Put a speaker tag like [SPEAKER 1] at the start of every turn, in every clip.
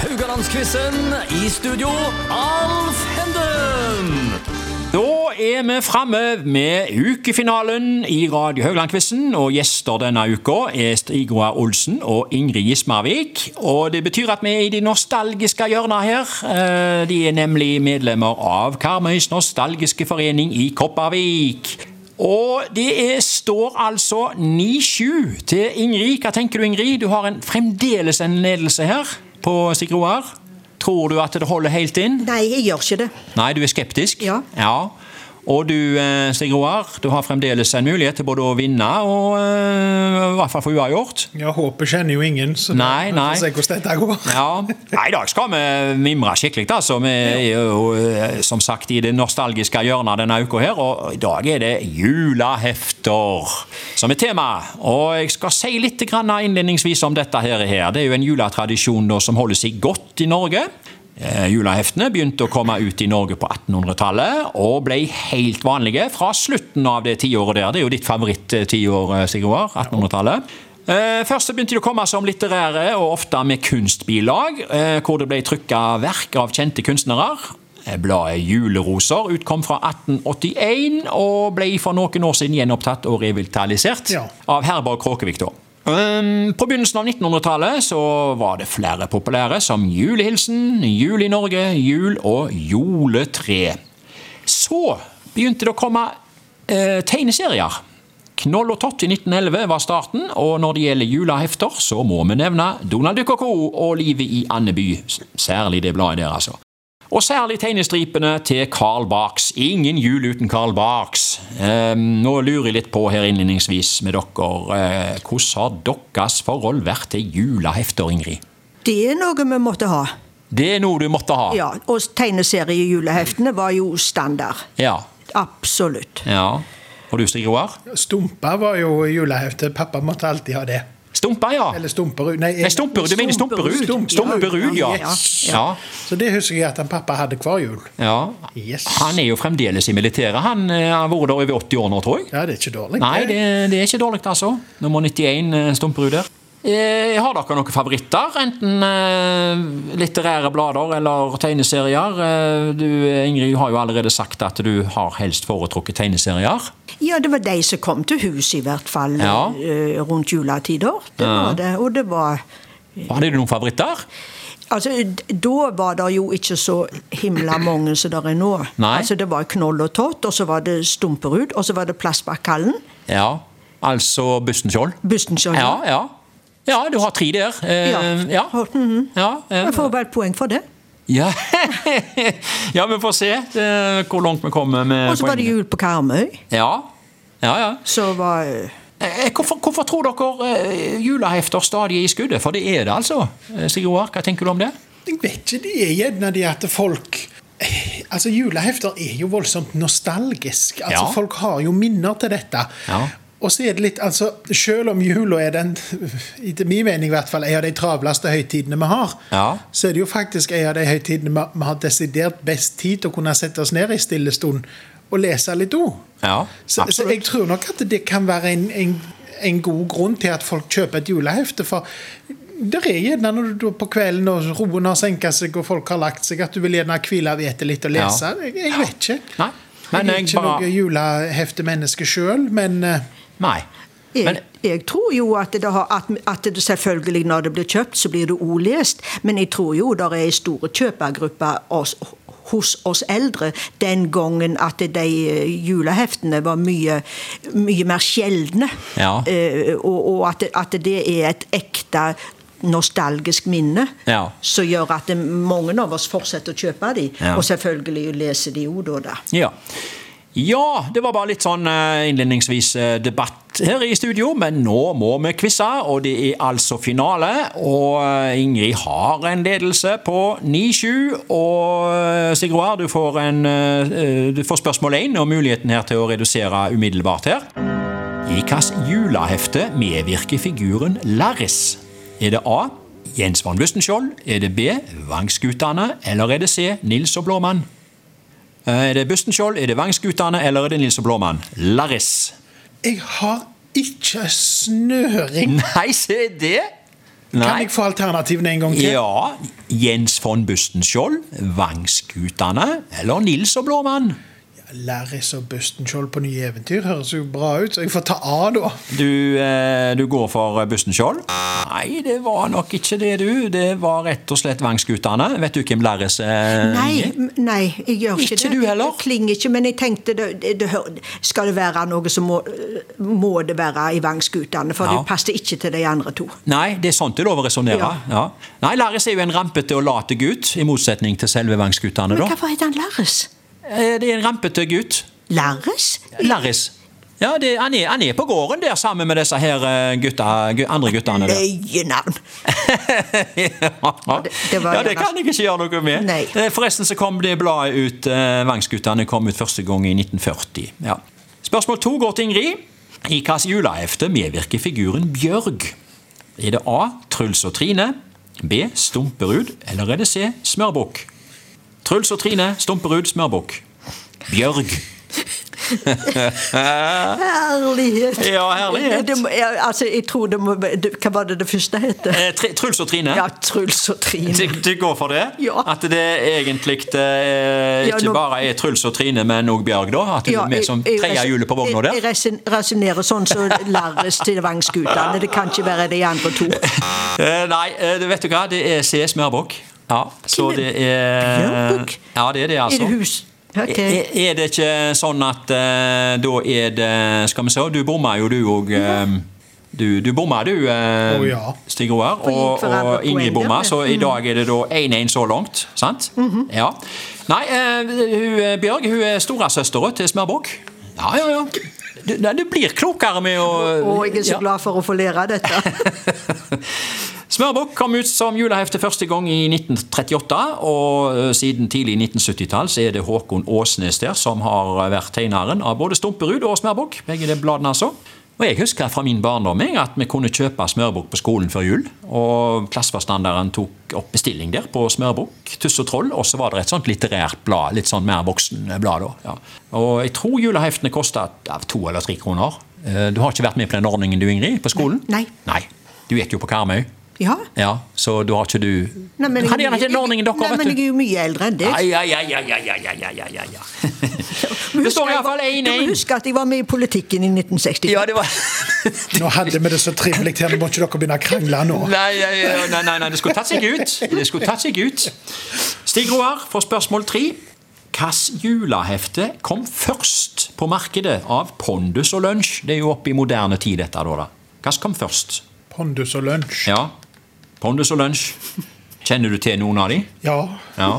[SPEAKER 1] Haugalandsquizen i studio, Alf Henden!
[SPEAKER 2] Da er vi framme med ukefinalen i Radio Haugland-quizen. Og gjester denne uka er Stigroa Olsen og Ingrid Gismarvik. Og det betyr at vi er i de nostalgiske hjørnene her. Eh, De er nemlig medlemmer av Karmøys nostalgiske forening i Kopervik. Og det er, står altså 9-7 til Ingrid. Hva tenker du, Ingrid? Du har en, fremdeles en ledelse her på Stigroar. Tror du at det holder helt inn?
[SPEAKER 3] Nei, jeg gjør ikke det.
[SPEAKER 2] Nei, du er skeptisk?
[SPEAKER 3] Ja.
[SPEAKER 2] Og du, eh, Stig Roar, du har fremdeles en mulighet til både å vinne og eh, i hvert fall få uavgjort.
[SPEAKER 4] Ja, Håpet kjenner jo ingen, så
[SPEAKER 2] Nei, nei.
[SPEAKER 4] vi får se hvordan dette går.
[SPEAKER 2] Ja. Nei, i dag skal vi mimre skikkelig, altså. Vi er jo eh, som sagt i det nostalgiske hjørnet denne uka her, og i dag er det julehefter som er tema. Og jeg skal si litt grann innledningsvis om dette her. her. Det er jo en juletradisjon da, som holder seg godt i Norge. Eh, Juleheftene begynte å komme ut i Norge på 1800-tallet og ble helt vanlige fra slutten av det tiåret der. Det er jo ditt favoritt-tiår, eh, Sigurd. 1800-tallet. Eh, Først så begynte de å komme som litterære, og ofte med kunstbilag, eh, hvor det ble trykka verk av kjente kunstnere. Eh, Bladet Juleroser utkom fra 1881 og ble for noen år siden gjenopptatt og revitalisert
[SPEAKER 4] Ja.
[SPEAKER 2] av Herborg Kråkevik. da. Um, på begynnelsen av 1900-tallet så var det flere populære som Julehilsen, Jul i Norge, Jul og Juletre. Så begynte det å komme eh, tegneserier. Knoll og Tott i 1911 var starten, og når det gjelder julehefter, så må vi nevne Donald Duck og co. og Livet i Andeby. Særlig det bladet der, altså. Og særlig tegnestripene til Carl Barks. Ingen jul uten Carl Barks. Eh, nå lurer jeg litt på her innledningsvis med dere. Eh, hvordan har deres forhold vært til julehefter, Ingrid?
[SPEAKER 3] Det er noe vi måtte ha.
[SPEAKER 2] Det er noe du måtte ha?
[SPEAKER 3] Ja, Og tegneseriejuleheftene var jo standard.
[SPEAKER 2] Ja.
[SPEAKER 3] Absolutt.
[SPEAKER 2] ja. Og du, Stig Roar?
[SPEAKER 4] Stumper var jo julehefte. Pappa måtte alltid ha det.
[SPEAKER 2] Stumper, ja.
[SPEAKER 4] Eller Stumperud. Nei,
[SPEAKER 2] Nei, stumperud. Du mener stumperud?
[SPEAKER 4] Stumperud,
[SPEAKER 2] Stumperud, ja.
[SPEAKER 4] ja.
[SPEAKER 2] ja.
[SPEAKER 4] Så det husker jeg at han pappa hadde hver jul.
[SPEAKER 2] ja.
[SPEAKER 4] Yes.
[SPEAKER 2] Han er jo fremdeles i militæret. Han eh, har vært der over 80 år nå, tror jeg.
[SPEAKER 4] Ja, det er ikke dårlig.
[SPEAKER 2] Nei, det, det er ikke dårlig, altså. Nummer 91, eh, Stumperud der. Eh, har dere noen favoritter? Enten eh, litterære blader eller tegneserier? Eh, du, eh, Ingrid, har jo allerede sagt at du har helst foretrukket tegneserier.
[SPEAKER 3] Ja, det var de som kom til huset, i hvert fall,
[SPEAKER 2] Ja.
[SPEAKER 3] eh, rundt juletider. Det var det. Og det var
[SPEAKER 2] Hadde du noen favoritter?
[SPEAKER 3] Altså, d- Da var det jo ikke så himla mange som det er nå.
[SPEAKER 2] Nei.
[SPEAKER 3] Altså, Det var Knoll og Tott, og så var det Stumperud, og så var det Plassbakkhallen.
[SPEAKER 2] Ja. Altså Bustenskjold?
[SPEAKER 3] Bustenskjold.
[SPEAKER 2] Ja, ja. Ja, du har tre der. Eh,
[SPEAKER 3] Ja. mhm.
[SPEAKER 2] ja. ja eh,
[SPEAKER 3] Jeg får vel poeng for det.
[SPEAKER 2] ja. ja, vi får se eh, hvor langt vi kommer med
[SPEAKER 3] Og så var det
[SPEAKER 2] poengene.
[SPEAKER 3] jul på Karmøy.
[SPEAKER 2] Ja, ja, ja.
[SPEAKER 3] Så var
[SPEAKER 2] Eh, Hvorfor, hvorfor tror dere eh, julehefter stadig er i skuddet? For det er det, altså. Eh, Sigurd, hva tenker du om det?
[SPEAKER 4] Jeg vet ikke, det er gjerne det at folk Altså, julehefter er jo voldsomt nostalgisk. Altså,
[SPEAKER 2] Ja.
[SPEAKER 4] Folk har jo minner til dette.
[SPEAKER 2] Ja.
[SPEAKER 4] Og så er det litt, altså, Selv om jula er den etter min mening i hvert fall, en av de travleste høytidene vi har,
[SPEAKER 2] Ja.
[SPEAKER 4] så er det jo faktisk en av de høytidene vi- vi har desidert best tid til å kunne sette oss ned i stille stund og lese litt òg.
[SPEAKER 2] Ja,
[SPEAKER 4] så, så
[SPEAKER 2] absolutt.
[SPEAKER 4] jeg tror nok at det kan være en, en, en god grunn til at folk kjøper et julehefte. For det er gjerne når du da på kvelden og roen har senka seg og folk har lagt seg, at du vil gjerne hvile av etet litt og lese.
[SPEAKER 2] Ja.
[SPEAKER 4] Jeg, jeg vet ikke.
[SPEAKER 2] Nei, men
[SPEAKER 4] jeg er
[SPEAKER 2] jeg
[SPEAKER 4] ikke
[SPEAKER 2] bare-
[SPEAKER 4] noe juleheftemenneske sjøl, men eh,
[SPEAKER 2] Nei.
[SPEAKER 3] jeg,
[SPEAKER 2] Men,
[SPEAKER 3] jeg tror jo at det, har, at, at det selvfølgelig når det blir kjøpt, så blir det ordlest. Men jeg tror jo det er en stor kjøpergruppe oss, hos oss eldre den gangen at de eh, juleheftene var mye, mye mer sjeldne.
[SPEAKER 2] Ja.
[SPEAKER 3] Eh, og og at, det- at det er et ekte nostalgisk minne
[SPEAKER 2] Ja.
[SPEAKER 3] som gjør at det, mange av oss fortsetter å kjøpe de.
[SPEAKER 2] Ja.
[SPEAKER 3] Og selvfølgelig leser de jo da. da.
[SPEAKER 2] ja. ja, det var bare litt sånn eh, innledningsvis eh, debatt her i studio, men nå må vi quize, og det er altså finale. Og eh, Ingrid har en ledelse på 9-7, og eh, Sigurd, du får, en, eh, eh, du får spørsmål 1 og muligheten her til å redusere umiddelbart her. I hvilket julehefte medvirker figuren Larris? Er det A. Jens von Bustenskjold? Er det B. Vangskutane? Eller er det C. Nils og Blåmann? Eh, Er det Bustenskjold, er det Vangskutane eller er det Nils og Blåmann? Larris.
[SPEAKER 4] jeg har ikke snøring.
[SPEAKER 2] Nei, se det! Nei.
[SPEAKER 4] Kan jeg få alternativene en gang til?
[SPEAKER 2] Ja, Jens von Bustenskjold, Vangskutane eller Nils og Blåmann?
[SPEAKER 4] Larris og Bustenskjold på nye eventyr høres jo bra ut, så jeg får ta A, da.
[SPEAKER 2] Du, eh, du går for Bustenskjold? Nei, det var nok ikke det, du. Det var rett og slett Vangskutane. Vet du hvem Larris er?
[SPEAKER 3] Nei, m- nei, jeg gjør ikke,
[SPEAKER 2] Ikke
[SPEAKER 3] det.
[SPEAKER 2] du heller?
[SPEAKER 3] Det klinger ikke, men jeg tenkte det, det, det, hør- Skal det være noe, så må, må det være i Vangskutane, for
[SPEAKER 2] Ja.
[SPEAKER 3] det passer ikke til de andre to.
[SPEAKER 2] Nei, det er sånt det er lov å resonnere. Ja.
[SPEAKER 3] Ja.
[SPEAKER 2] Nei, Larris er jo en rampete og late gutt, i motsetning til selve Vangskutane,
[SPEAKER 3] Men
[SPEAKER 2] da.
[SPEAKER 3] hvorfor heter han Larris?
[SPEAKER 2] Eh, Det er en rampete gutt.
[SPEAKER 3] Larris?
[SPEAKER 2] Larris. Ja, det, han, er, han er på gården der sammen med disse her eh, gutta, gu- andre guttene der.
[SPEAKER 3] Løyenavn!
[SPEAKER 2] ja,
[SPEAKER 3] det- det var
[SPEAKER 2] ja, det
[SPEAKER 3] gjerne-
[SPEAKER 2] kan jeg ikke gjøre noe med.
[SPEAKER 3] Nei.
[SPEAKER 2] Eh, Forresten så kom det bladet ut, eh, Vangsguttene kom ut første gang i 1940. Ja. Spørsmål to går til Ingrid. I hvilket julehefte medvirker figuren Bjørg? Er det A. Truls og Trine? B. Stumperud? Eller er det C. Smørbukk? Truls og Trine, Stumperud, Smørbukk. Bjørg.
[SPEAKER 3] Herlighet!
[SPEAKER 2] Ja, herlighet.
[SPEAKER 3] Det, det, må- ja, altså, jeg tror det må det, Hva var det det første heter?
[SPEAKER 2] Eh, Tr- Truls og Trine?
[SPEAKER 3] Ja, Truls og Trine.
[SPEAKER 2] Du, du går for det?
[SPEAKER 3] Ja.
[SPEAKER 2] At det egentlig eh, ikke
[SPEAKER 3] nå-
[SPEAKER 2] bare er Truls og Trine, men òg Bjørg, da? At det
[SPEAKER 3] Ja,
[SPEAKER 2] er vi som
[SPEAKER 3] jeg- jeg
[SPEAKER 2] tredje
[SPEAKER 3] rason-
[SPEAKER 2] hjulet på vogna
[SPEAKER 3] Jeg,
[SPEAKER 2] der?
[SPEAKER 3] jeg rason- rasonnerer sånn som Larris til Vangskutane. Det kan ikke være de andre to.
[SPEAKER 2] Eh, nei, eh, vet du hva, det er C. Smørbukk. Ja, så
[SPEAKER 3] Hvem er
[SPEAKER 2] det er
[SPEAKER 3] Smørbukk?
[SPEAKER 2] Ja, det er det,
[SPEAKER 3] Er
[SPEAKER 2] altså.
[SPEAKER 3] det hus? Ok.
[SPEAKER 2] Er, er det ikke sånn at eh, da er det Skal vi se, du bomma jo du òg.
[SPEAKER 3] Mhm.
[SPEAKER 2] du, du bomma du, eh,
[SPEAKER 4] Å, ja.
[SPEAKER 2] Stig Roar.
[SPEAKER 3] For gikk
[SPEAKER 2] Og,
[SPEAKER 3] for alle
[SPEAKER 2] og Ingrid
[SPEAKER 3] poeng,
[SPEAKER 2] bomma,
[SPEAKER 3] ja. Mhm.
[SPEAKER 2] så i dag er det da 1-1 så langt. Sant? Ja. Nei, eh, hun, eh, Bjørg hun er storesøstera til Smørbukk. Ja, ja, ja. Du, nei, du blir klokere med å
[SPEAKER 3] Og jeg er så
[SPEAKER 2] Ja.
[SPEAKER 3] glad for å få lære dette.
[SPEAKER 2] Smørbukk kom ut som julehefte første gang i 1938, og eh, siden tidlig 1970-tall så er det Håkon Åsnes der som har eh, vært tegneren av både Stumperud og Smørbukk. Begge de bladene, altså. Og Jeg husker fra min barndom jeg, at vi kunne kjøpe smørbukk på skolen før jul. og Klasseforstanderen tok opp bestilling der på smørbukk, Tuss og Troll, og så var det et sånt litterært blad. Litt sånn mer voksen eh, blad, da. Ja. Og jeg tror juleheftene kosta ja, to eller tre kroner. Eh, Du har ikke vært med på den ordningen du, Ingrid? På skolen?
[SPEAKER 3] Nei.
[SPEAKER 2] Nei. Du gikk jo på Karmøy.
[SPEAKER 3] Ja.
[SPEAKER 2] Ja, så da har ikke du
[SPEAKER 3] Nei, men jeg-
[SPEAKER 2] Kan gjerne ikke den ordningen dere,
[SPEAKER 3] Nei,
[SPEAKER 2] vet
[SPEAKER 3] men
[SPEAKER 2] du.
[SPEAKER 3] jeg er jo mye eldre enn deg.
[SPEAKER 2] Ai, ai, ai, ai, ai, ai, ai, ai, ai, ai.
[SPEAKER 3] Men
[SPEAKER 2] Det står
[SPEAKER 3] husker jeg
[SPEAKER 2] iallfall
[SPEAKER 3] var- Du må
[SPEAKER 2] 1-1.
[SPEAKER 3] huske at jeg var med i politikken i 1960.
[SPEAKER 2] Ja, det var
[SPEAKER 4] Nå hadde vi det så trivelig her, nå må ikke dere begynne å krangle nå.
[SPEAKER 2] Nei, nei, nei, nei, nei, det skulle tatt seg ut. Det skulle tatt seg ut. Stig Roar får spørsmål tre. Hvilket julehefte kom først på markedet av Pondus og Lunsj? Det er jo oppe i moderne tid, dette. da. da. Hva som kom først?
[SPEAKER 4] Pondus og lunsj.
[SPEAKER 2] Ja, Pondus og Lunsj. Kjenner du til noen av de?
[SPEAKER 4] Ja,
[SPEAKER 2] Ja.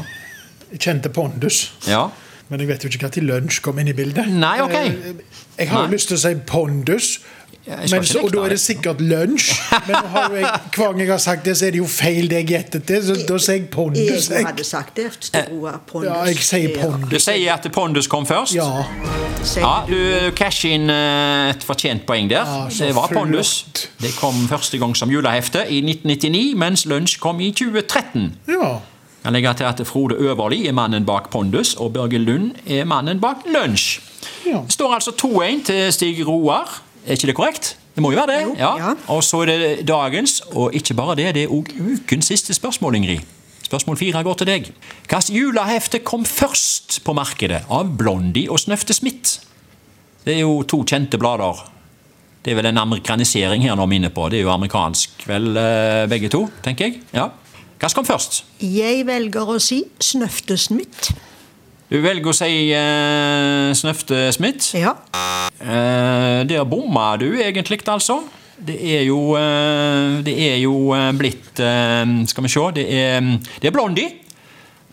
[SPEAKER 4] jeg kjente Pondus.
[SPEAKER 2] ja.
[SPEAKER 4] Men jeg vet jo ikke når lunsj kom inn i bildet.
[SPEAKER 2] Nei, ok.
[SPEAKER 4] Eh, Jeg har jo
[SPEAKER 2] Nei.
[SPEAKER 4] lyst til å si Pondus,
[SPEAKER 2] jeg skal
[SPEAKER 4] men,
[SPEAKER 2] ikke
[SPEAKER 4] så, og
[SPEAKER 2] nekte
[SPEAKER 4] da er det
[SPEAKER 2] det.
[SPEAKER 4] sikkert lunsj. Men nå har jo jeg, hver gang jeg har sagt det, så er det jo feil det jeg gjettet til, så da sier jeg Pondus.
[SPEAKER 3] Jeg
[SPEAKER 4] Jeg,
[SPEAKER 3] hadde sagt det. Stora pondus.
[SPEAKER 4] ja, jeg sier Pondus.
[SPEAKER 2] Du sier at Pondus kom først?
[SPEAKER 4] Ja.
[SPEAKER 3] sier
[SPEAKER 2] Ja,
[SPEAKER 3] du.
[SPEAKER 2] du casher inn eh, et fortjent poeng der.
[SPEAKER 4] Ja, så
[SPEAKER 2] det var
[SPEAKER 4] flott.
[SPEAKER 2] Pondus. Det kom første gang som julehefte i 1999, mens Lunsj kom i 2013.
[SPEAKER 4] ja.
[SPEAKER 2] Jeg legger til at Frode Øverli er mannen bak Pondus, og Børge Lund er mannen bak Lunsj.
[SPEAKER 4] Ja.
[SPEAKER 2] Det står altså 2-1 til Stig Roar. Er ikke det korrekt? Det må jo være det.
[SPEAKER 3] ja.
[SPEAKER 2] Og så er det dagens, og ikke bare det, det er òg ukens siste spørsmål, Ingrid. Spørsmål fire går til deg. Hvilket julehefte kom først på markedet av Blondie og Snøfte Smith? Det er jo to kjente blader. Det er vel en amerikanisering her nå vi er inne på. Det er jo amerikansk, vel, eh, begge to, tenker jeg. Ja. Hva som kom først?
[SPEAKER 3] Jeg velger å si Snøftesen mitt.
[SPEAKER 2] Du velger å si eh, Snøfte Smith.
[SPEAKER 3] Ja.
[SPEAKER 2] Eh, der bomma du egentlig, altså. Det er jo, eh, det er jo eh, blitt eh, Skal vi se. Det er, det er Blondie.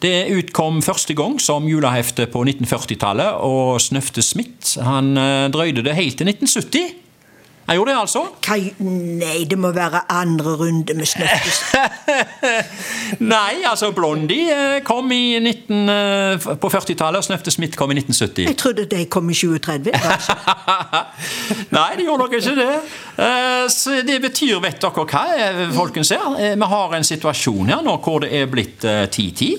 [SPEAKER 2] Det utkom første gang som julehefte på 1940-tallet, og Snøfte Smith han eh, drøyde det helt til 1970. Han gjorde det, altså.
[SPEAKER 3] Hva, nei, det må være andre runde med Snøftesen.
[SPEAKER 2] Nei, altså Blondie eh, kom i 19, eh, på 40-tallet, og Snøfte Smith kom i 1970.
[SPEAKER 3] Jeg trodde de kom i 2030. Altså.
[SPEAKER 2] Nei, det gjorde nok ikke det. Eh, Så det betyr, vet dere hva, eh, folkens her? Eh, Vi har en situasjon her nå hvor det er blitt eh, 10-10.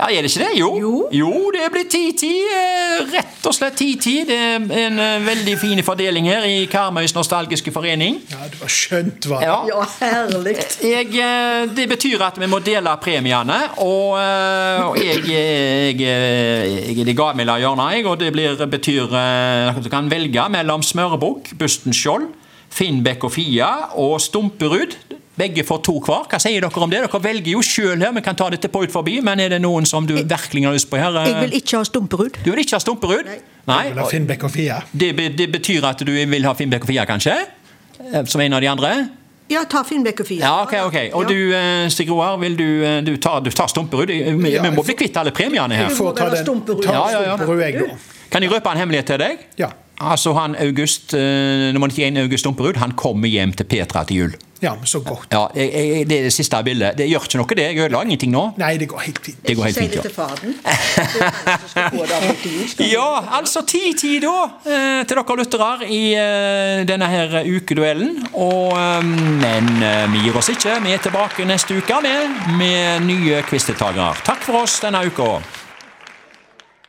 [SPEAKER 2] Ja, er det ikke det? Jo.
[SPEAKER 3] Jo.
[SPEAKER 2] det blir 10-10. eh, Rett og slett 10-10. Det er en eh, veldig fin fordeling her i Karmøys nostalgiske forening.
[SPEAKER 4] Ja, det var skjønt, hva?
[SPEAKER 2] Ja.
[SPEAKER 3] Ja, herlig.
[SPEAKER 2] Jeg, eh, det betyr at vi må dele premiene, og, eh, og jeg, jeg, eh, jeg, jeg Det ga meg la hjørnet, jeg, og det blir, betyr eh, at Du kan velge mellom Smørebukk, Busten Skjold, Finnbekk og Fia og Stumperud. Begge får to hver. Hva sier dere om det? Dere velger jo sjøl her, vi kan ta dette på ut forbi, men er det noen som du virkelig har lyst på her? eh?
[SPEAKER 3] Jeg vil ikke ha stumperud.
[SPEAKER 2] Du vil ikke ha Stumperud?
[SPEAKER 3] Nei.
[SPEAKER 4] Jeg vil ha
[SPEAKER 2] Nei.
[SPEAKER 4] Finnbekk og Fia.
[SPEAKER 2] Det, be- det betyr at du vil ha Finnbekk og Fia, kanskje? Eh, Som en av de andre?
[SPEAKER 3] Ja, ta Finnbekk og Fia.
[SPEAKER 2] Ja, ok, ok. Og
[SPEAKER 3] Ja.
[SPEAKER 2] du, eh, Stig Roar, vil du, eh, du, tar, du tar Stumperud? Vi,
[SPEAKER 4] Ja,
[SPEAKER 2] vi
[SPEAKER 4] jeg
[SPEAKER 2] må
[SPEAKER 4] får-
[SPEAKER 2] bli kvitt alle premiene her.
[SPEAKER 4] Jeg får ta
[SPEAKER 3] Eller
[SPEAKER 4] den.
[SPEAKER 3] Stumperud.
[SPEAKER 4] Ta
[SPEAKER 2] Ja, ja, ja.
[SPEAKER 4] Stumperud, jeg, da.
[SPEAKER 2] Kan jeg røpe en hemmelighet til deg?
[SPEAKER 4] Ja.
[SPEAKER 2] Altså, han August, eh, nummer 91 August Stumperud, han kommer hjem til Petra til jul.
[SPEAKER 4] ja, men så godt.
[SPEAKER 2] Ja, jeg, jeg, Det er det siste bildet. Det gjør ikke noe, det. Jeg ødela ingenting nå.
[SPEAKER 4] Nei, det går helt fint.
[SPEAKER 2] Det går helt
[SPEAKER 3] Si
[SPEAKER 2] fint.
[SPEAKER 3] det
[SPEAKER 2] ja.
[SPEAKER 3] til faren. Det er han som skal få det av og til, skal han.
[SPEAKER 2] Ja, altså 10-10 da eh, til dere lyttere i eh, denne her ukeduellen. Og, eh, men eh, vi gir oss ikke. Vi er tilbake neste uke med, med nye quizdeltakere. Takk for oss denne uka.